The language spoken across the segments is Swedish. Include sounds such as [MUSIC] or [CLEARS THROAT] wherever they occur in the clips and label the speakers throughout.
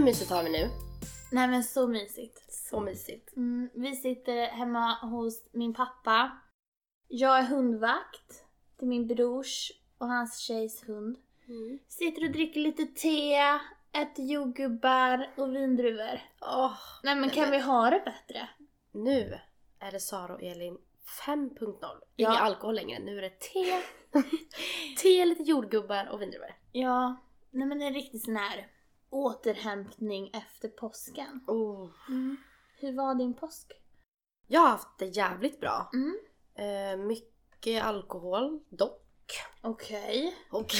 Speaker 1: mysigt har vi nu.
Speaker 2: [LAUGHS] Nej men så mysigt.
Speaker 1: Så mysigt.
Speaker 2: Mm, vi sitter hemma hos min pappa. Jag är hundvakt till min brors och hans tjejs hund.
Speaker 1: Mm.
Speaker 2: Sitter och dricker lite te, äter jordgubbar och vindruvor.
Speaker 1: Åh,
Speaker 2: Nej men
Speaker 1: Nej,
Speaker 2: kan
Speaker 1: men-
Speaker 2: vi ha det bättre?
Speaker 1: nu är det Sara och Elin 5.0.
Speaker 2: Ja.
Speaker 1: Ingen alkohol längre, nu är det te. [LAUGHS] te, lite jordgubbar och vindruvor.
Speaker 2: Ja, nej men en riktig sån här återhämtning efter påsken.
Speaker 1: Oh.
Speaker 2: Hur var din påsk?
Speaker 1: Jag har haft det jävligt bra.
Speaker 2: Mm.
Speaker 1: Eh, mycket alkohol, dock.
Speaker 2: Okej.
Speaker 1: Och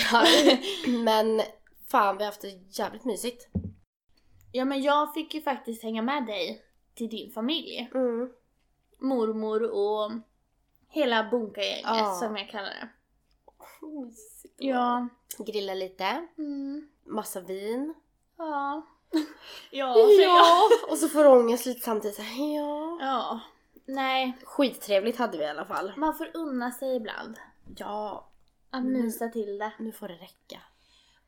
Speaker 1: Men fan, vi har haft det jävligt mysigt.
Speaker 2: Ja men jag fick ju faktiskt hänga med dig till din familj.
Speaker 1: Mm.
Speaker 2: Mormor och hela bunkagänget
Speaker 1: Ja.
Speaker 2: som jag kallar det.
Speaker 1: Mysigt.
Speaker 2: Ja.
Speaker 1: Grilla lite,
Speaker 2: Mm.
Speaker 1: massa vin.
Speaker 2: Ja. [LAUGHS] ja,
Speaker 1: [LAUGHS] Ja,
Speaker 2: för jag.
Speaker 1: och så får ångest lite samtidigt. Så här, ja.
Speaker 2: Ja. Nej,
Speaker 1: Skittrevligt hade vi i alla fall.
Speaker 2: man får unna sig ibland.
Speaker 1: Ja,
Speaker 2: Att
Speaker 1: Mm.
Speaker 2: mysa till det.
Speaker 1: nu får det räcka.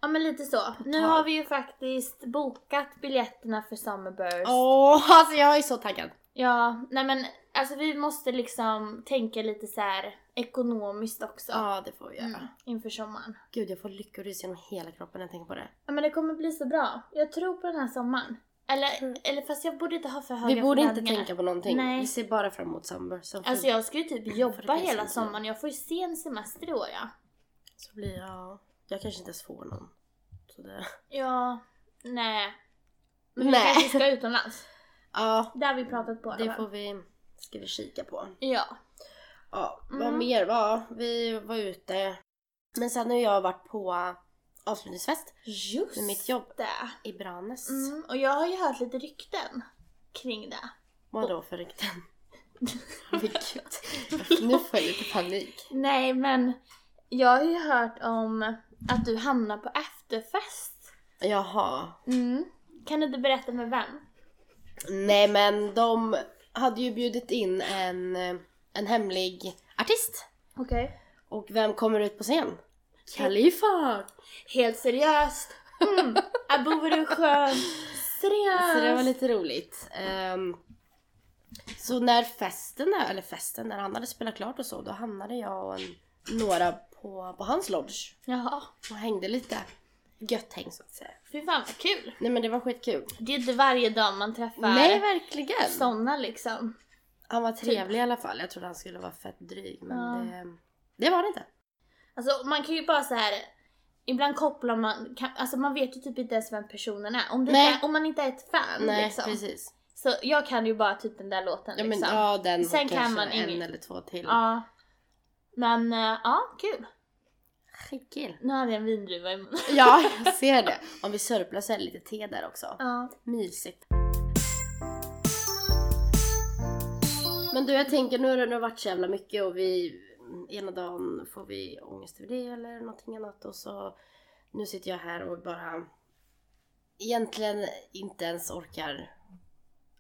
Speaker 2: Ja men lite så. Nu
Speaker 1: Ja.
Speaker 2: har vi ju faktiskt bokat biljetterna för Summerburst.
Speaker 1: Åh, alltså jag är så taggad.
Speaker 2: Ja, nej men alltså vi måste liksom tänka lite så här ekonomiskt också.
Speaker 1: Ja, det får vi göra.
Speaker 2: Mm, inför sommaren.
Speaker 1: Gud, jag får lyckorus genom hela kroppen när jag tänker på det.
Speaker 2: Ja men det kommer bli så bra. Jag tror på den här sommaren. Eller,
Speaker 1: Mm.
Speaker 2: eller fast jag borde inte ha för höga
Speaker 1: Vi borde inte
Speaker 2: förväntningar.
Speaker 1: tänka på någonting.
Speaker 2: Nej.
Speaker 1: Vi ser bara fram emot sommar. Så,
Speaker 2: Alltså jag ska ju [LAUGHS] typ jobba
Speaker 1: bli
Speaker 2: hela
Speaker 1: sånt.
Speaker 2: sommaren. Jag får ju sen semester i år ja.
Speaker 1: så blir jag... Jag kanske inte ens får någon. Så det...
Speaker 2: Ja, nej. Men vi
Speaker 1: Nej.
Speaker 2: kanske [LAUGHS] ska utomlands.
Speaker 1: Ja,
Speaker 2: Det har vi pratat på.
Speaker 1: det
Speaker 2: va?
Speaker 1: får vi... Ska vi kika på.
Speaker 2: Ja.
Speaker 1: Ja, vad
Speaker 2: Mm.
Speaker 1: mer var? Vi var ute. Men sen har jag varit på avslutningsfest
Speaker 2: Just
Speaker 1: med mitt jobb
Speaker 2: det.
Speaker 1: i Branäs.
Speaker 2: Mm, och jag har ju hört lite rykten kring det.
Speaker 1: Vadå
Speaker 2: [LAUGHS]
Speaker 1: för rykten? Vilket? Nu får jag lite panik.
Speaker 2: Nej men jag har ju hört om att du hamnar på efterfest.
Speaker 1: Jaha.
Speaker 2: Mm. Kan du inte berätta med vem?
Speaker 1: Nej men de hade ju bjudit in en, eh, en hemlig artist.
Speaker 2: Okej.
Speaker 1: Och vem kommer ut på scen? Kalifa!
Speaker 2: Helt seriöst.
Speaker 1: [LAUGHS]
Speaker 2: Mm. Above du skön. Seriöst.
Speaker 1: Så det var lite roligt. Ehm, så när festen, eller festen, när han hade spelat klart och så, då hamnade jag och en, några på, på hans lodge
Speaker 2: Jaha.
Speaker 1: och hängde lite. Gött häng så att säga.
Speaker 2: Fy fan vad kul.
Speaker 1: Nej men det var skitkul.
Speaker 2: Det är inte varje dag man träffar
Speaker 1: Nej verkligen!
Speaker 2: sådana liksom.
Speaker 1: Han var trevlig i alla fall. Jag trodde han skulle vara fett dryg men
Speaker 2: Ja.
Speaker 1: det, det var det inte.
Speaker 2: Alltså man kan ju bara så här. Ibland kopplar man, kan, alltså man vet ju typ inte ens vem personen är. Om, det
Speaker 1: Nej.
Speaker 2: inte är, om man inte är ett fan
Speaker 1: Nej
Speaker 2: liksom.
Speaker 1: precis.
Speaker 2: Så jag kan ju bara typ den där låten
Speaker 1: Ja, men,
Speaker 2: liksom.
Speaker 1: ja den och
Speaker 2: Sen kan
Speaker 1: kanske
Speaker 2: man
Speaker 1: en
Speaker 2: inget.
Speaker 1: eller två till.
Speaker 2: Ja. Men eh, ja, kul.
Speaker 1: Skitkul.
Speaker 2: Nu har vi en vindruva i munnen.
Speaker 1: Ja jag ser det. [LAUGHS] Om vi sörplar så är det lite te där också.
Speaker 2: Ja.
Speaker 1: Mysigt. Men du jag tänker nu har det nog varit så jävla mycket och vi ena dagen får vi ångest över det eller någonting annat och så nu sitter jag här och bara egentligen inte ens orkar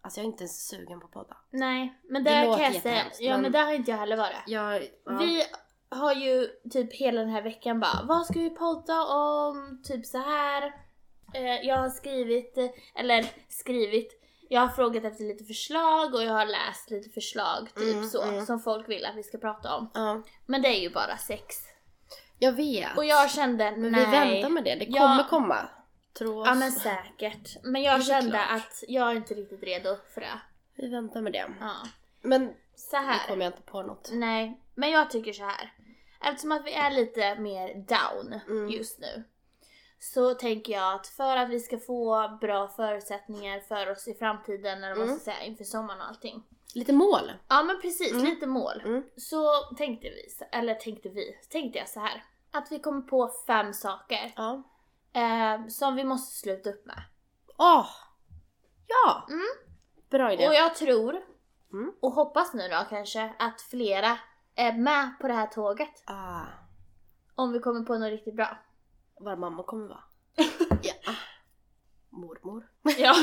Speaker 1: Alltså jag är inte ens sugen på att podda.
Speaker 2: Nej, men
Speaker 1: Det
Speaker 2: där
Speaker 1: låter
Speaker 2: kan jag säga.
Speaker 1: jättehemskt,
Speaker 2: Ja,
Speaker 1: men-
Speaker 2: men... där har inte jag heller varit.
Speaker 1: Jag, ja.
Speaker 2: Vi har ju typ hela den här veckan bara, vad ska vi podda om? Typ så här. Eh, jag har skrivit, eh, eller skrivit, jag har frågat efter lite förslag och jag har läst lite förslag typ
Speaker 1: Mm,
Speaker 2: så,
Speaker 1: mm.
Speaker 2: som folk vill att vi ska prata om.
Speaker 1: ja.
Speaker 2: Men det är ju bara sex.
Speaker 1: jag vet.
Speaker 2: Och jag kände,
Speaker 1: Men
Speaker 2: nej.
Speaker 1: vi väntar med det, det
Speaker 2: Ja.
Speaker 1: kommer komma. Tro oss.
Speaker 2: Ja men säkert. Men
Speaker 1: Det
Speaker 2: jag
Speaker 1: är
Speaker 2: kände
Speaker 1: klart.
Speaker 2: att jag är inte riktigt redo för det.
Speaker 1: Vi väntar med det.
Speaker 2: Ja.
Speaker 1: Men
Speaker 2: Så
Speaker 1: nu
Speaker 2: här.
Speaker 1: kommer jag inte på något.
Speaker 2: Nej, men jag tycker så här. Eftersom att vi är lite mer down
Speaker 1: Mm.
Speaker 2: just nu. Så tänker jag att för att vi ska få bra förutsättningar för oss i framtiden eller vad man
Speaker 1: Mm.
Speaker 2: ska säga inför sommaren och allting.
Speaker 1: Lite mål.
Speaker 2: Ja men precis,
Speaker 1: Mm.
Speaker 2: lite mål.
Speaker 1: Mm.
Speaker 2: Så tänkte vi, eller tänkte vi, tänkte jag så här. Att vi kommer på fem saker
Speaker 1: Ja.
Speaker 2: eh, som vi måste sluta upp med.
Speaker 1: Åh! Ja!
Speaker 2: Mm.
Speaker 1: Bra idé.
Speaker 2: Och jag tror,
Speaker 1: Mm.
Speaker 2: och hoppas nu då kanske, att flera är med på det här tåget.
Speaker 1: Ah,
Speaker 2: Om vi kommer på något riktigt
Speaker 1: [LAUGHS]
Speaker 2: bra.
Speaker 1: vad mamma
Speaker 2: [LAUGHS]
Speaker 1: kommer vara. ja. Mormor.
Speaker 2: Ja.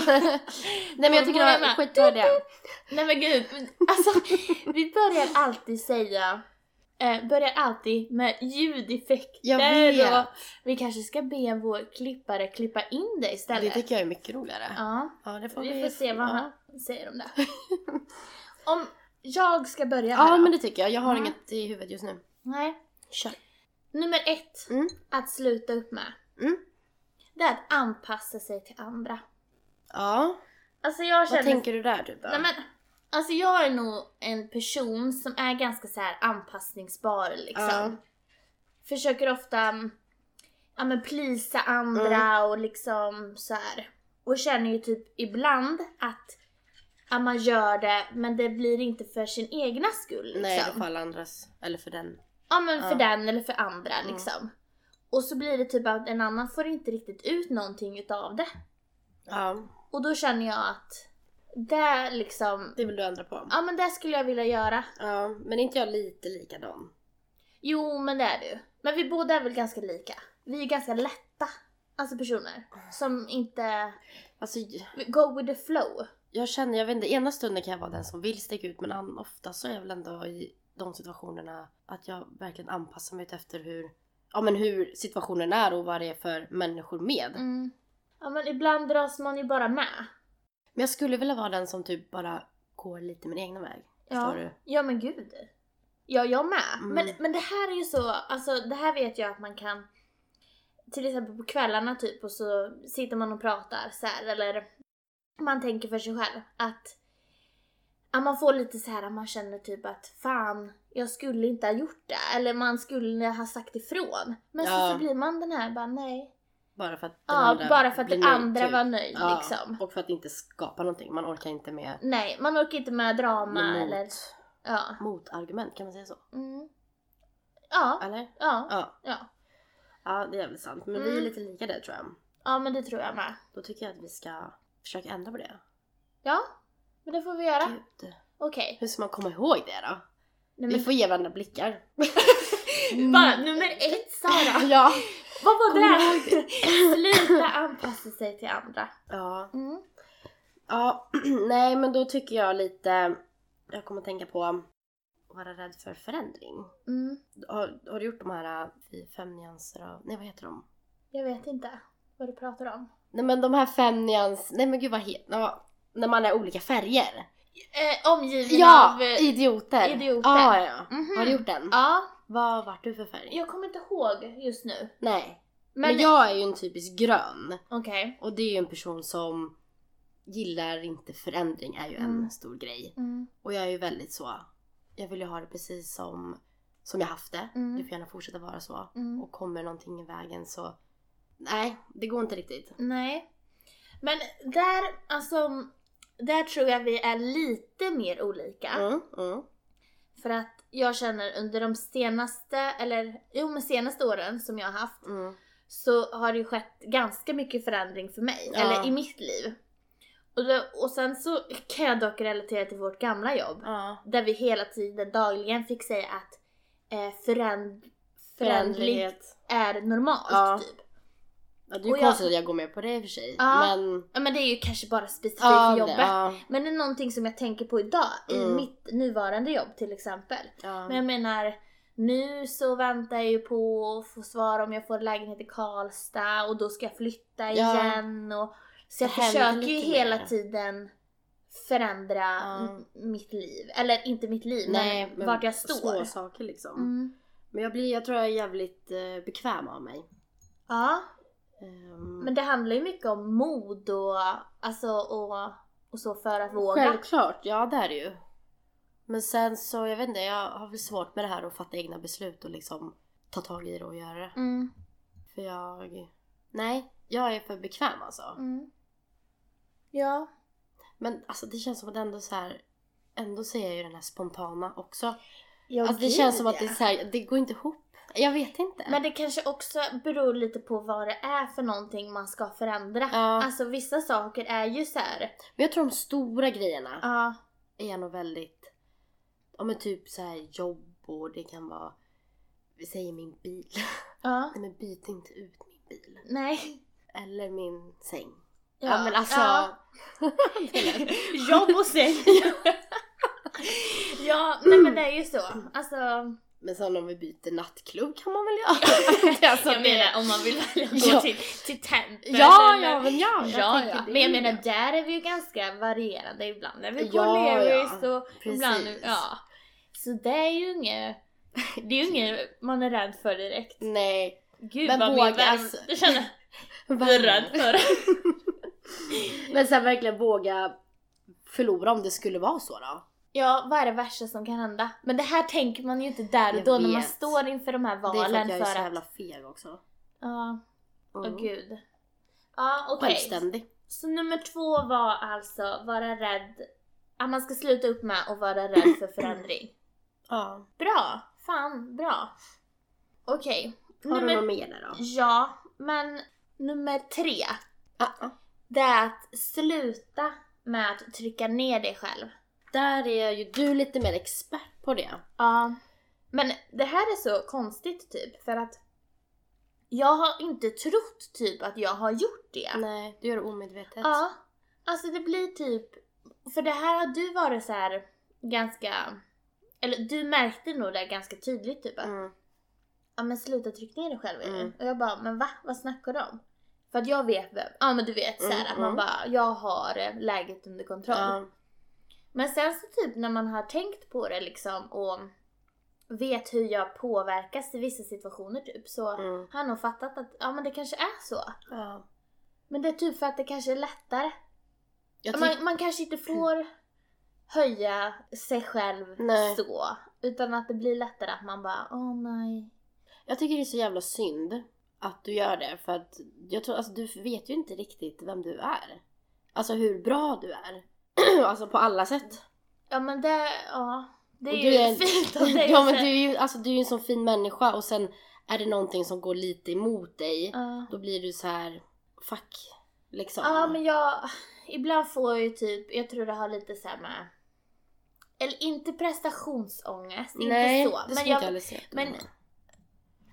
Speaker 1: Nej men jag tycker det
Speaker 2: Mormor är
Speaker 1: var
Speaker 2: med.
Speaker 1: skitbra idé. [LAUGHS]
Speaker 2: Nej men gud, men alltså vi börjar alltid säga eh, börjar alltid med ljudeffekter
Speaker 1: Jag vet.
Speaker 2: och vi kanske ska be vår klippare klippa in det
Speaker 1: Det
Speaker 2: istället.
Speaker 1: tycker jag är mycket roligare. Ja,
Speaker 2: ja,
Speaker 1: det får
Speaker 2: vi får se vad
Speaker 1: ja.
Speaker 2: han säger om
Speaker 1: [LAUGHS]
Speaker 2: det. om jag ska börja här
Speaker 1: Ja,
Speaker 2: då.
Speaker 1: men det tycker jag. Jag har
Speaker 2: Mm.
Speaker 1: inget i huvudet just nu.
Speaker 2: Nej.
Speaker 1: Kör.
Speaker 2: Nummer ett,
Speaker 1: Mm.
Speaker 2: att sluta upp med.
Speaker 1: Mm.
Speaker 2: Det är att anpassa sig till andra.
Speaker 1: Ja,
Speaker 2: Alltså jag
Speaker 1: vad
Speaker 2: känner...
Speaker 1: tänker du där typ då?
Speaker 2: Nej men, alltså jag är nog en person som är ganska så här anpassningsbar liksom.
Speaker 1: Ja.
Speaker 2: Försöker ofta, mm, ja men plisa andra
Speaker 1: Mm.
Speaker 2: och liksom så här. Och känner ju typ ibland att, ja man gör det men det blir inte för sin egna skull liksom.
Speaker 1: Nej, det får alla andras. Eller för den.
Speaker 2: Ja men för
Speaker 1: Ja.
Speaker 2: den eller för andra
Speaker 1: Mm.
Speaker 2: liksom. Och så blir det typ att en annan får inte riktigt ut någonting utav det.
Speaker 1: Ja,
Speaker 2: Och då känner jag att det liksom,
Speaker 1: det vill du ändra på.
Speaker 2: ja men det skulle jag vilja göra.
Speaker 1: Ja, men inte jag lite likadan?
Speaker 2: Jo men det är du. Men vi båda är väl ganska lika. Vi är ganska lätta, alltså personer. Som inte,
Speaker 1: Alltså,
Speaker 2: vi go with the flow.
Speaker 1: jag känner, jag vet inte, ena stunden kan jag vara den som vill sticka ut men an, ofta så är jag väl ändå i de situationerna att jag verkligen anpassar mig efter hur, ja men hur situationen är och vad det är för människor med.
Speaker 2: Mm. Ja men ibland dras man ju bara med.
Speaker 1: Men jag skulle vilja vara den som typ bara går lite min egna väg. Förstår du?
Speaker 2: Ja men gud. Ja jag med.
Speaker 1: Mm.
Speaker 2: Men, men det här är ju så, alltså det här vet jag att man kan till exempel på kvällarna typ och så sitter man och pratar så här eller man tänker för sig själv att ja, man får lite så här att man känner typ att fan jag skulle inte ha gjort det eller man skulle ha sagt ifrån. Men så,
Speaker 1: Ja.
Speaker 2: så blir man den här bara nej.
Speaker 1: Bara för att
Speaker 2: Ja,
Speaker 1: den andra
Speaker 2: bara för att
Speaker 1: blir
Speaker 2: den
Speaker 1: nöjd,
Speaker 2: andra
Speaker 1: typ.
Speaker 2: var nöjd
Speaker 1: Ja,
Speaker 2: liksom.
Speaker 1: och för att inte skapa någonting. Man orkar inte med,
Speaker 2: Nej, man orkar inte med drama
Speaker 1: med mot,
Speaker 2: eller ja.
Speaker 1: motargument, kan man säga så?
Speaker 2: Mm. Ja,
Speaker 1: Eller?
Speaker 2: ja,
Speaker 1: Ja.
Speaker 2: ja.
Speaker 1: Ja, det är väl sant. Men vi är
Speaker 2: Mm.
Speaker 1: lite lika där tror jag.
Speaker 2: Ja, men det tror jag med.
Speaker 1: Då tycker jag att vi ska försöka ändra på det.
Speaker 2: Ja, men det får vi göra.
Speaker 1: Gud.
Speaker 2: Okej.
Speaker 1: Hur ska man komma ihåg det då?
Speaker 2: Nej,
Speaker 1: Vi
Speaker 2: men-
Speaker 1: får ge varandra blickar.
Speaker 2: [LAUGHS]
Speaker 1: Mm.
Speaker 2: Bara nummer ett [LAUGHS] Sara.
Speaker 1: [LAUGHS] ja.
Speaker 2: Vad var
Speaker 1: Kommer
Speaker 2: det? Sluta anpassa sig till andra.
Speaker 1: Ja.
Speaker 2: Mm.
Speaker 1: ja. [CLEARS THROAT] Nej men då tycker jag lite, jag kommer att tänka på att vara rädd för förändring.
Speaker 2: Mm.
Speaker 1: Har, har du gjort de här eh, fem nyanser av, nej vad heter de?
Speaker 2: Jag vet inte vad du pratar om.
Speaker 1: Nej men de här fem nyans, nej men gud vad heter ja, När man är olika färger.
Speaker 2: Eh, omgiven
Speaker 1: Ja!
Speaker 2: av... eh,
Speaker 1: Idioter.
Speaker 2: idioter.
Speaker 1: Ja, ja.
Speaker 2: Mhm.
Speaker 1: Har du gjort den?
Speaker 2: Ja,
Speaker 1: Vad vart du för färg?
Speaker 2: jag kommer inte ihåg just nu.
Speaker 1: Nej. Men,
Speaker 2: Men,
Speaker 1: jag är ju en typisk grön.
Speaker 2: okej.
Speaker 1: Och det är ju en person som gillar inte förändring är ju en
Speaker 2: Mm.
Speaker 1: stor grej.
Speaker 2: Mm.
Speaker 1: Och jag är ju väldigt så, jag vill ju ha det precis som, som jag haft det.
Speaker 2: Mm.
Speaker 1: Det får gärna fortsätta vara så.
Speaker 2: Mm.
Speaker 1: Och kommer någonting i vägen så, nej det går inte riktigt.
Speaker 2: Nej. Men där, alltså, där tror jag vi är lite mer olika.
Speaker 1: Mm, mm.
Speaker 2: För att jag känner under de senaste, eller jo men senaste åren som jag har haft
Speaker 1: Mm.
Speaker 2: så har det ju skett ganska mycket förändring för mig,
Speaker 1: Ja.
Speaker 2: eller i mitt liv. Och, då, och sen så kan jag dock relatera till vårt gamla jobb.
Speaker 1: Ja.
Speaker 2: Där vi hela tiden dagligen fick säga att eh, föränd, förändring
Speaker 1: Förändlighet.
Speaker 2: är normalt
Speaker 1: Ja.
Speaker 2: typ.
Speaker 1: Ja, det är ju
Speaker 2: Och jag-
Speaker 1: konstigt att jag går med på det i och för sig.
Speaker 2: Ja,
Speaker 1: men...
Speaker 2: Ja men det är ju kanske bara specifikt
Speaker 1: Ja,
Speaker 2: för
Speaker 1: det-
Speaker 2: jobbet.
Speaker 1: ja,
Speaker 2: Men det är någonting som jag tänker på idag
Speaker 1: Mm.
Speaker 2: i mitt nuvarande jobb till exempel.
Speaker 1: ja.
Speaker 2: Men jag menar, nu så väntar jag ju på att få svar om jag får lägenhet i Karlstad och då ska jag flytta
Speaker 1: Ja.
Speaker 2: igen. Och, så jag
Speaker 1: Det händer
Speaker 2: försöker ju
Speaker 1: lite
Speaker 2: hela
Speaker 1: mer.
Speaker 2: tiden förändra
Speaker 1: Ja.
Speaker 2: m- mitt liv. Eller inte mitt liv,
Speaker 1: nej,
Speaker 2: men, vart jag
Speaker 1: Små
Speaker 2: står.
Speaker 1: saker liksom.
Speaker 2: Mm.
Speaker 1: Men jag, blir, jag tror jag är jävligt eh, bekväm av mig.
Speaker 2: Ja,
Speaker 1: Ehm,
Speaker 2: men det handlar ju mycket om mod och, alltså, och, och så för att våga.
Speaker 1: Självklart, ja det är det ju. Men sen så, jag vet inte, jag har väl svårt med det här att fatta egna beslut och liksom ta tag i det och göra det.
Speaker 2: Mm.
Speaker 1: För jag... Nej, jag är för bekväm alltså.
Speaker 2: Mm. Ja.
Speaker 1: Men alltså det känns som att ändå så här... Ändå så är jag ju den här spontana också.
Speaker 2: ja
Speaker 1: Alltså det
Speaker 2: gud,
Speaker 1: känns som att det
Speaker 2: ja.
Speaker 1: är så här, det går inte ihop. Jag vet inte.
Speaker 2: Men det kanske också beror lite på vad det är för någonting man ska förändra.
Speaker 1: Ja.
Speaker 2: Alltså vissa saker är ju så här.
Speaker 1: Men jag tror de stora grejerna
Speaker 2: ja,
Speaker 1: är jag nog väldigt... Ja men typ så här jobb och det kan vara... Vi säger min bil. [LAUGHS]
Speaker 2: ja,
Speaker 1: Nej men byt inte ut min bil.
Speaker 2: nej.
Speaker 1: Eller min säng. Ja, men alltså. [LAUGHS]
Speaker 2: ja.
Speaker 1: Det lät-
Speaker 2: Jobb och säng. ja, nej men det är ju så. Alltså,
Speaker 1: Men sen om vi byter nattklubb kan man
Speaker 2: [LAUGHS]
Speaker 1: väl göra? [LAUGHS] Det är alltså
Speaker 2: jag
Speaker 1: det-
Speaker 2: menar om man vill välja att gå
Speaker 1: Ja.
Speaker 2: till, till tempel
Speaker 1: Ja,
Speaker 2: eller-
Speaker 1: ja, men ja. jag
Speaker 2: Ja,
Speaker 1: tänker
Speaker 2: ja.
Speaker 1: det.
Speaker 2: Men jag menar där är vi ju ganska varierande. Ibland är vi på
Speaker 1: Ja, ja.
Speaker 2: Levis och ibland...
Speaker 1: Precis.
Speaker 2: Ja. Så det är ju inget... Det är ju inget man är rädd för direkt.
Speaker 1: Nej.
Speaker 2: Gud
Speaker 1: Men
Speaker 2: vad
Speaker 1: våga,
Speaker 2: min värld...
Speaker 1: alltså.
Speaker 2: Jag [LAUGHS] känner mig rädd för.
Speaker 1: Men sen verkligen våga förlora om det skulle vara så då.
Speaker 2: [LAUGHS] Ja, vad är det värsta som kan hända? Men det här tänker man ju inte där och
Speaker 1: Jag
Speaker 2: då när man
Speaker 1: vet.
Speaker 2: står inför de här
Speaker 1: det är för
Speaker 2: valen
Speaker 1: att jag är så
Speaker 2: för
Speaker 1: jävla
Speaker 2: att...
Speaker 1: feg också.
Speaker 2: Ja, åh
Speaker 1: Mm.
Speaker 2: gud. Ja, okej.
Speaker 1: Självständig.
Speaker 2: Så nummer två var alltså vara rädd... Att man ska sluta upp med att vara rädd för förändring.
Speaker 1: Ja.
Speaker 2: [LAUGHS] Bra! Fan, bra. Okej.
Speaker 1: Har du något
Speaker 2: Nummer...
Speaker 1: mer där då?
Speaker 2: Ja, men nummer tre.
Speaker 1: Ja, ja.
Speaker 2: Det är att sluta med att trycka ner dig själv.
Speaker 1: Där är ju du lite mer expert på det.
Speaker 2: Ja. Men det här är så konstigt typ, för att jag har inte trott typ att jag har gjort det.
Speaker 1: Nej, du gör det omedvetet.
Speaker 2: Ja. Alltså det blir typ... För det här har du varit så här ganska... Eller du märkte nog det ganska tydligt typ att
Speaker 1: Mm.
Speaker 2: ja men sluta tryck ner dig själv Elin.
Speaker 1: Mm.
Speaker 2: Och jag bara, men va? Vad snackar du om? För att jag vet vem, ja men du vet såhär
Speaker 1: Mm,
Speaker 2: att man
Speaker 1: mm.
Speaker 2: bara, jag har eh, läget under kontroll.
Speaker 1: Ja.
Speaker 2: Men sen så typ när man har tänkt på det liksom och vet hur jag påverkas i vissa situationer typ så
Speaker 1: Mm.
Speaker 2: har jag nog fattat att ja men det kanske är så.
Speaker 1: ja.
Speaker 2: Men det är typ för att det kanske är lättare.
Speaker 1: Jag tyck-
Speaker 2: Man, man kanske inte får höja sig själv
Speaker 1: Nej.
Speaker 2: så. Utan att det blir lättare att man bara, åh nej.
Speaker 1: Jag tycker det är så jävla synd att du gör det för att jag tror, alltså, du vet ju inte riktigt vem du är. Alltså hur bra du är. [CLEARS THROAT] alltså på alla sätt.
Speaker 2: Ja men det, ja. Det är
Speaker 1: Och
Speaker 2: ju
Speaker 1: du är- [LAUGHS]
Speaker 2: fint av dig
Speaker 1: Ja
Speaker 2: att
Speaker 1: men
Speaker 2: säga.
Speaker 1: du är ju alltså, du är ju en sån fin människa och sen är det någonting som går lite emot dig.
Speaker 2: Ja.
Speaker 1: Då blir du så här fuck liksom.
Speaker 2: Ja men jag, ibland får jag ju typ, jag tror det har lite så här med eller inte prestationsångest,
Speaker 1: Nej,
Speaker 2: inte så.
Speaker 1: det
Speaker 2: Men
Speaker 1: skulle
Speaker 2: jag,
Speaker 1: inte jag säga. att du
Speaker 2: men-
Speaker 1: har.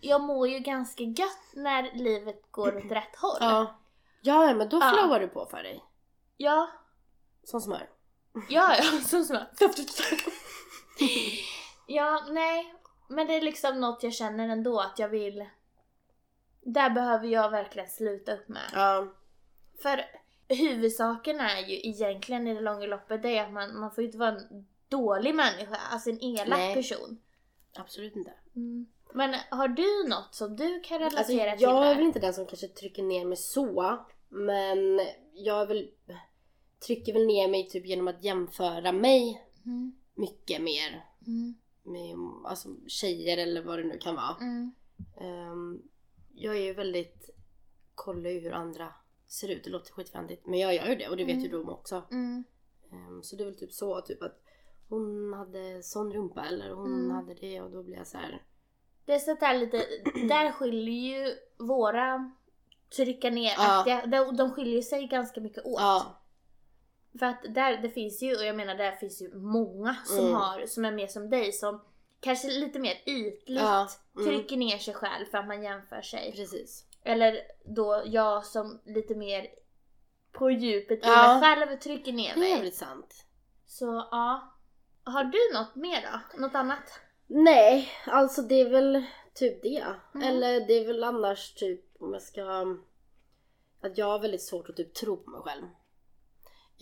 Speaker 2: jag mår ju ganska gött när livet går åt rätt håll.
Speaker 1: ja. ja ja, men då
Speaker 2: Ja.
Speaker 1: flowar du på för dig.
Speaker 2: ja, [LAUGHS]
Speaker 1: Som smör.
Speaker 2: ja,
Speaker 1: [LAUGHS]
Speaker 2: ja som så. [LAUGHS] Ja, nej. Men det är liksom något jag känner ändå att jag vill... Där behöver jag verkligen sluta upp med.
Speaker 1: ja.
Speaker 2: För huvudsaken är ju egentligen i det långa loppet det är att man, man får ju inte vara en dålig människa, alltså en elak
Speaker 1: Nej.
Speaker 2: person. Mm.
Speaker 1: Absolut inte.
Speaker 2: Men har du något som du kan relatera
Speaker 1: Alltså,
Speaker 2: till?
Speaker 1: jag är väl inte den som kanske trycker ner mig så, men jag är väl, trycker väl ner mig typ genom att jämföra mig
Speaker 2: Mm,
Speaker 1: mycket mer
Speaker 2: mm,
Speaker 1: med alltså, tjejer eller vad det nu kan vara.
Speaker 2: mm.
Speaker 1: Ehm, jag är ju väldigt, kollar ju hur andra ser ut, det låter skitfjantigt men jag gör ju det och det vet ju
Speaker 2: Mm.
Speaker 1: de också.
Speaker 2: Mm.
Speaker 1: Ehm, så det är väl typ så, typ att hon hade sån rumpa eller hon
Speaker 2: Mm.
Speaker 1: hade det och då blir jag så här.
Speaker 2: Det är sånt där lite, där skiljer ju våra trycka ner aktiga, de, de skiljer sig ganska mycket åt.
Speaker 1: ja.
Speaker 2: För att där, det finns ju, och jag menar där finns ju många som,
Speaker 1: Mm.
Speaker 2: har, som är mer som dig som kanske lite mer ytligt
Speaker 1: Ja, mm.
Speaker 2: trycker ner sig själv för att man jämför sig.
Speaker 1: Precis.
Speaker 2: Eller då jag som lite mer på djupet i
Speaker 1: Ja.
Speaker 2: mig själv trycker ner
Speaker 1: Det är
Speaker 2: mig.
Speaker 1: jävligt sant.
Speaker 2: Så ja. Har du något mer då? Något annat?
Speaker 1: Nej, alltså det är väl typ det.
Speaker 2: Mm.
Speaker 1: Eller det är väl annars typ om jag ska... Att jag har väldigt svårt att typ tro på mig själv.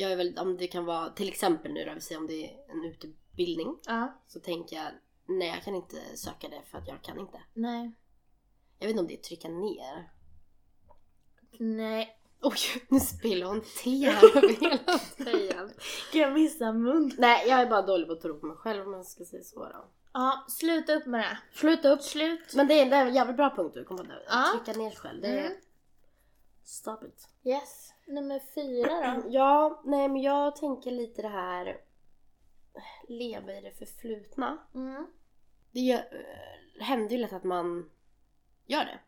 Speaker 1: Jag är väldigt, om det kan vara till exempel nu då, vi säger om det är en utbildning.
Speaker 2: Ja.
Speaker 1: Så tänker jag, nej jag kan inte söka det för att jag kan inte.
Speaker 2: Nej.
Speaker 1: Jag vet inte om det är trycka ner.
Speaker 2: Nej.
Speaker 1: Oj, [LAUGHS] nu spiller hon te här över
Speaker 2: [LAUGHS]
Speaker 1: hela tröjan.
Speaker 2: Gud jag missade mun.
Speaker 1: Nej, jag är bara dålig på att tro på mig själv om jag ska säga så då.
Speaker 2: Ja, sluta upp med det.
Speaker 1: Sluta upp.
Speaker 2: Slut.
Speaker 1: Men det är, det är en jävligt bra punkt du kom på. där.
Speaker 2: Ja.
Speaker 1: Trycka ner sig själv. Det är...
Speaker 2: Mm.
Speaker 1: Stop it.
Speaker 2: Yes. Nummer fyra då.
Speaker 1: Ja, nej men jag tänker lite det här leva i det förflutna. [CLEARS THROAT]
Speaker 2: Mm.
Speaker 1: Det gör, eh, händer ju lätt att man gör det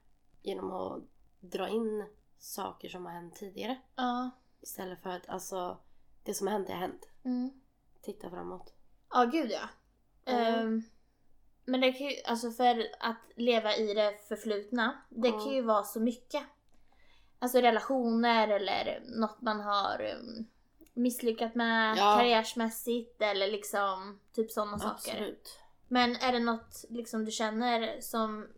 Speaker 1: genom att dra in saker som har hänt tidigare
Speaker 2: Ja.
Speaker 1: istället för att alltså det som har hänt är hänt.
Speaker 2: Mm.
Speaker 1: Titta framåt.
Speaker 2: Ja, gud ja.
Speaker 1: Mm.
Speaker 2: Ehm, men det kan ju, alltså för att leva i det förflutna, det
Speaker 1: Ja.
Speaker 2: kan ju vara så mycket. Alltså relationer eller något man har um, misslyckats med
Speaker 1: Ja.
Speaker 2: karriärsmässigt eller liksom typ sådana saker.
Speaker 1: Absolut.
Speaker 2: Men är det något liksom du känner som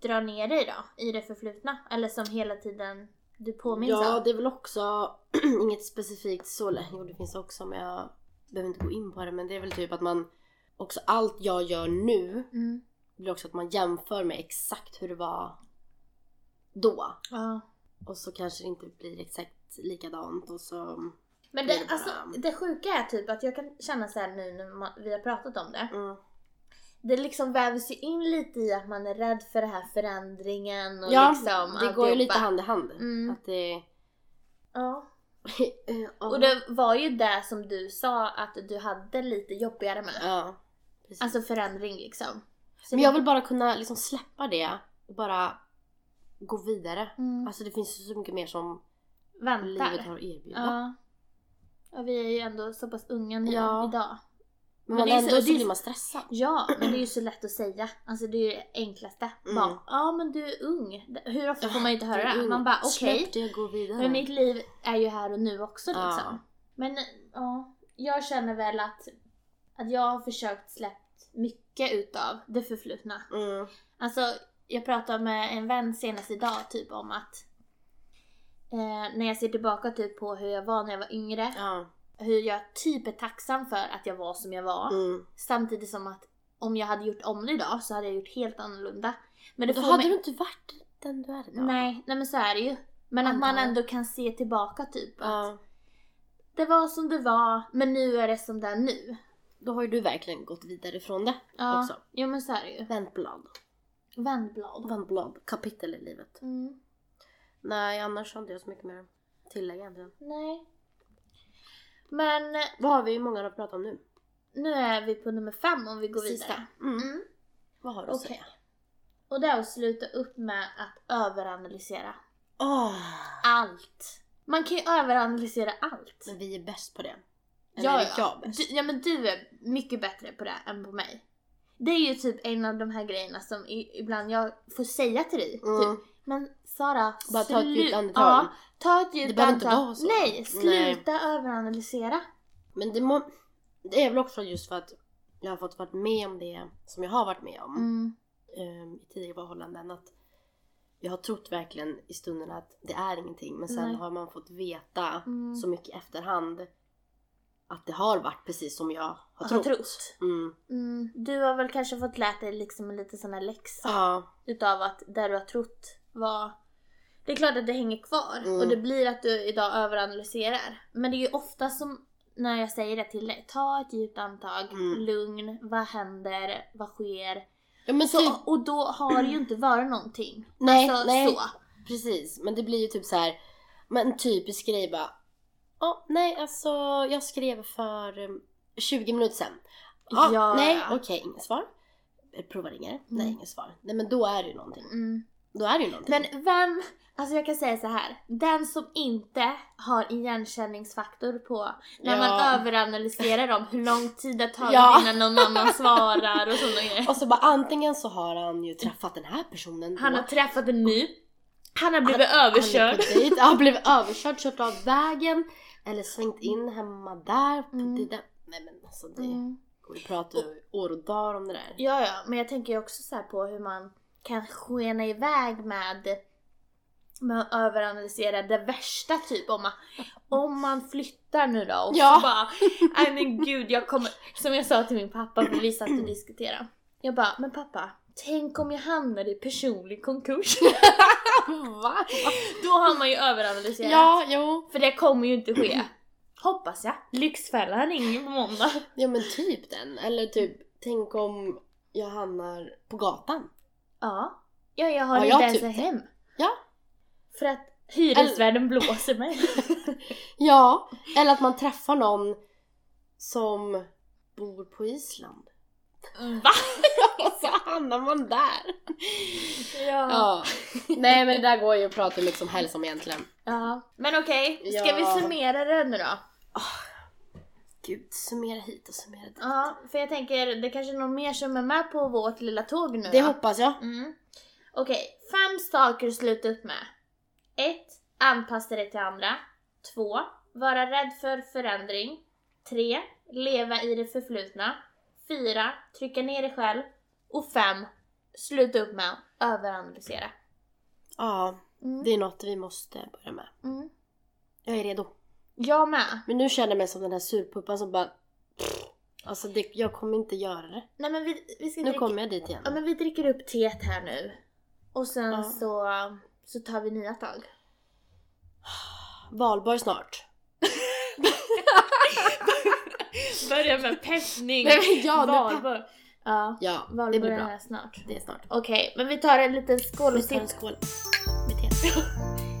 Speaker 2: drar ner dig då? I det förflutna? Eller som hela tiden du påminns
Speaker 1: Ja,
Speaker 2: av?
Speaker 1: det är väl också [CLEARS THROAT] inget specifikt så länge. Jo, det finns också men jag behöver inte gå in på det. Men det är väl typ att man också allt jag gör nu
Speaker 2: Mm.
Speaker 1: blir också att man jämför med exakt hur det var då.
Speaker 2: Ja.
Speaker 1: Och så kanske det inte blir exakt likadant och så...
Speaker 2: Men
Speaker 1: Det
Speaker 2: det,
Speaker 1: är bara-
Speaker 2: alltså, det sjuka är typ att jag kan känna så här nu när man, vi har pratat om det.
Speaker 1: Mm.
Speaker 2: Det liksom vävs ju in lite i att man är rädd för den här förändringen och
Speaker 1: Ja,
Speaker 2: liksom
Speaker 1: det går ju
Speaker 2: alltihopa.
Speaker 1: lite hand i hand.
Speaker 2: Mm.
Speaker 1: Att det... [LAUGHS]
Speaker 2: Ja.
Speaker 1: Ja.
Speaker 2: Och det var ju det som du sa att du hade lite jobbigare med.
Speaker 1: Ja, precis.
Speaker 2: Alltså förändring liksom. Så
Speaker 1: men
Speaker 2: det-
Speaker 1: jag vill bara kunna liksom släppa det och bara gå vidare.
Speaker 2: mm,
Speaker 1: Alltså det finns ju så mycket mer som livet
Speaker 2: väntar.
Speaker 1: har att erbjuda.
Speaker 2: Ja. ja. Vi är ju ändå så pass unga nu
Speaker 1: Ja.
Speaker 2: idag.
Speaker 1: Men,
Speaker 2: Men det är
Speaker 1: ändå
Speaker 2: så-
Speaker 1: så,
Speaker 2: det är-
Speaker 1: blir man stressad.
Speaker 2: Ja, men det är ju så lätt att säga. Alltså det är ju det enklaste.
Speaker 1: Mm.
Speaker 2: Bara, ja men du är ung. Hur ofta får man inte höra
Speaker 1: Du,
Speaker 2: det? Man bara okej.
Speaker 1: Släpp det och gå vidare.
Speaker 2: Men mitt liv är ju här och nu också
Speaker 1: Ja.
Speaker 2: liksom. Men ja, jag känner väl att, att jag har försökt släppt mycket utav det förflutna.
Speaker 1: Mm.
Speaker 2: Alltså, jag pratade med en vän senast idag typ om att eh, när jag ser tillbaka typ på hur jag var när jag var yngre,
Speaker 1: Ja.
Speaker 2: hur jag typ är tacksam för att jag var som jag var.
Speaker 1: Mm.
Speaker 2: Samtidigt som att om jag hade gjort om det idag så hade jag gjort helt annorlunda. Men det
Speaker 1: Då
Speaker 2: får
Speaker 1: hade
Speaker 2: mig-
Speaker 1: du inte varit den du är idag.
Speaker 2: Nej, nej men så är det ju. Men att man
Speaker 1: Antagligen.
Speaker 2: ändå kan se tillbaka typ att
Speaker 1: Ja.
Speaker 2: det var som det var, men nu är det som det är nu.
Speaker 1: Då har ju du verkligen gått vidare från det
Speaker 2: Ja,
Speaker 1: också.
Speaker 2: jo men så är det ju.
Speaker 1: Vändblad.
Speaker 2: Vändblad.
Speaker 1: Vändblad. Kapitel i livet.
Speaker 2: Mm.
Speaker 1: Nej, annars har inte jag så mycket mer att tillägga egentligen.
Speaker 2: Nej. Men eh,
Speaker 1: Vad har vi hur många har pratat om nu?
Speaker 2: nu är vi på nummer fem om vi går
Speaker 1: Sista.
Speaker 2: vidare.
Speaker 1: Mm.
Speaker 2: Mm.
Speaker 1: Vad har du att
Speaker 2: Okej.
Speaker 1: säga?
Speaker 2: Och det är att sluta upp med att överanalysera
Speaker 1: Åh.
Speaker 2: allt. Man kan ju överanalysera allt.
Speaker 1: Men vi är bäst på det. Eller
Speaker 2: Ja,
Speaker 1: är jag
Speaker 2: ja.
Speaker 1: bäst?
Speaker 2: Du, typ ja men du är mycket bättre på det än på mig. Det är ju typ en av de här grejerna som i, ibland jag får säga till dig.
Speaker 1: Mm.
Speaker 2: Typ, men Sara,
Speaker 1: Bara ta ett djupt
Speaker 2: slu-
Speaker 1: andetag.
Speaker 2: Ja, ta ett
Speaker 1: Det
Speaker 2: djupt
Speaker 1: behöver inte
Speaker 2: andetag.
Speaker 1: vara så.
Speaker 2: Nej, sluta överanalysera.
Speaker 1: Men det, må, det är väl också just för att jag har fått varit med om det som jag har varit med om
Speaker 2: Mm.
Speaker 1: eh, i tidigare förhållanden. Att jag har trott verkligen i stunden att det är ingenting men sen
Speaker 2: Nej.
Speaker 1: har man fått veta
Speaker 2: Mm.
Speaker 1: så mycket i efterhand att det har varit precis som jag har
Speaker 2: Har
Speaker 1: trott.
Speaker 2: trott.
Speaker 1: Mm.
Speaker 2: Mm. Du har väl kanske fått lära dig liksom en liten sån här läxa
Speaker 1: Ja,
Speaker 2: utav att det du har trott var... Det är klart att det hänger kvar
Speaker 1: Mm.
Speaker 2: och det blir att du idag överanalyserar. Men det är ju ofta som när jag säger det till dig, ta ett djupt andetag,
Speaker 1: Mm.
Speaker 2: lugn, vad händer, vad sker?
Speaker 1: ja men
Speaker 2: Så,
Speaker 1: typ,
Speaker 2: och då har
Speaker 1: [CLEARS THROAT]
Speaker 2: det ju inte varit någonting.
Speaker 1: nej,
Speaker 2: alltså,
Speaker 1: nej
Speaker 2: Så.
Speaker 1: precis. Men det blir ju typ så här, men en typisk grej bara. "Ja, nej alltså jag skrev för eh, 20 minuter sedan. Ja,
Speaker 2: Ja.
Speaker 1: nej, okej, inget svar. Jag provar ringer. Nej, inget svar. Nej men då är det ju någonting.
Speaker 2: Mm.
Speaker 1: Då är det ju någonting.
Speaker 2: Men vem, alltså jag kan säga så här. den som inte har igenkänningsfaktor på när
Speaker 1: Ja.
Speaker 2: man överanalyserar om hur lång tid det har tagit
Speaker 1: Ja.
Speaker 2: innan någon annan svarar och sådana grejer.
Speaker 1: Och så bara antingen så har han ju träffat den här personen då.
Speaker 2: Han har träffat en ny, han har blivit överkörd.
Speaker 1: Han är på dejt. Ja, blev överkörd, kört av vägen. Eller svängt in hemma där. på
Speaker 2: Mm.
Speaker 1: det där. Nej men alltså det
Speaker 2: Mm.
Speaker 1: går ju att prata i år och dagar om det där.
Speaker 2: Ja, ja, men jag tänker ju också så här på hur man kan skena iväg med med att överanalysera det värsta typ om man, om man flyttar nu då och
Speaker 1: Ja.
Speaker 2: så bara nej men gud jag kommer som jag sa till min pappa för vi satt och diskuterade jag bara men pappa tänk om jag hamnar i personlig
Speaker 1: [LAUGHS]
Speaker 2: konkurs
Speaker 1: Va?
Speaker 2: då har man ju överanalyserat
Speaker 1: Ja, jo.
Speaker 2: för det kommer ju inte ske hoppas jag Lyxfällan ringer på måndag
Speaker 1: Ja men typ den. Eller typ, tänk om jag hamnar på gatan.
Speaker 2: Ja. Ja, jag har
Speaker 1: Ja,
Speaker 2: inte
Speaker 1: jag
Speaker 2: ens
Speaker 1: typ-
Speaker 2: ett hem.
Speaker 1: Ja.
Speaker 2: För att hyresvärden blåser
Speaker 1: [LAUGHS]
Speaker 2: mig.
Speaker 1: Ja, eller att man träffar någon som bor på Island.
Speaker 2: Va?
Speaker 1: [LAUGHS] Och så hamnar man där.
Speaker 2: Ja. ja.
Speaker 1: [LAUGHS] Ja. Nej men det där går ju att prata hur mycket som helst om egentligen.
Speaker 2: Men okej, ska
Speaker 1: Ja.
Speaker 2: vi summera det nu då?
Speaker 1: Gud, summera hit och summera dit.
Speaker 2: Ja, för jag tänker det kanske är någon mer som är med på vårt lilla tåg nu
Speaker 1: Det
Speaker 2: då.
Speaker 1: hoppas jag.
Speaker 2: Mm. Okej, fem saker att sluta upp med. 1. Anpassa dig till andra. 2. Vara rädd för förändring. 3. Leva i det förflutna. Fyra, trycka ner dig själv. Och fem, sluta upp med att överanalysera.
Speaker 1: Ja,
Speaker 2: Mm.
Speaker 1: det är något vi måste börja med.
Speaker 2: Mm.
Speaker 1: Jag är redo.
Speaker 2: Jag med.
Speaker 1: Men nu känner jag mig som den här surpuppan som bara... Alltså det, jag kommer inte göra det.
Speaker 2: Nej men vi, vi ska
Speaker 1: Nu kommer jag dit igen.
Speaker 2: Ja men vi dricker upp teet här nu. Och sen
Speaker 1: Ja.
Speaker 2: så, så tar vi nya tag.
Speaker 1: Valborg snart.
Speaker 2: Börja med peppning.
Speaker 1: Nej, men ja, nu-
Speaker 2: Ja,
Speaker 1: Ja, det
Speaker 2: valborg
Speaker 1: blir
Speaker 2: är
Speaker 1: bra.
Speaker 2: här snart.
Speaker 1: Det är snart.
Speaker 2: Okej, men vi tar en liten skål
Speaker 1: Vi
Speaker 2: och
Speaker 1: tar en
Speaker 2: sitt. [LAUGHS]
Speaker 1: skål med te.